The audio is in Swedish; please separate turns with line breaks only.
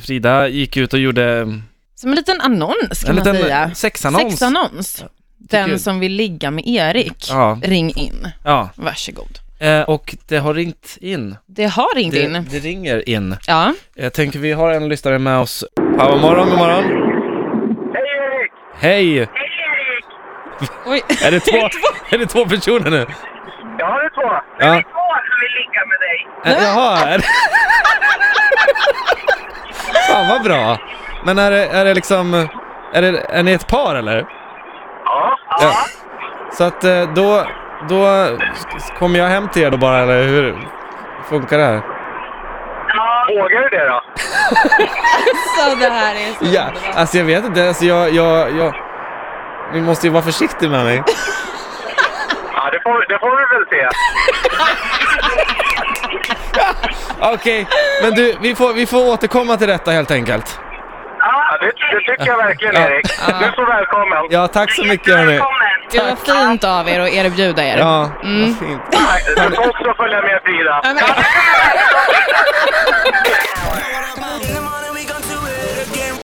Frida gick ut och gjorde
Som en liten annons
en
kan man säga.
liten sexannons.
Sexannons. Den
Tycker-
som vill ligga med Erik,
Ja,
ring in.
ja.
Varsågod.
Eh, och det har ringt in.
Det har ringt
Det,
in.
det ringer in. Eh,
Ja.
Jag tänker vi har en lyssnare med oss. Ja, god morgon, god morgon.
Hej Erik!
Hej!
Hej Erik!
Oj.
Är det två, är det två personer nu? Eh, Ä-
Ja, det är två. Det
Ja.
är två som vill ligga med dig.
Jaha, är det... Fan vad bra! Men är det, är det liksom, är, det, är ni ett par eller?
Ja.
Ja. Så att eh, då, då s- kommer jag hem till er då bara eller hur funkar det här?
ja. Vågar du det då?
Så det här är så
Ja, alltså jag vet inte, alltså jag, jag, jag... Ni måste ju vara försiktig med mig.
Ja, det får, det får vi väl se.
Okej, men du, vi får, vi får återkomma till detta helt enkelt.
Ja, det, det tycker jag verkligen
Ja.
Erik. Du är så välkommen.
Ja, tack så mycket hörni.
Det var fint av er att erbjuda er.
Ja, vad fint.
Nej, Du får också följa med Frida.
Ja, men-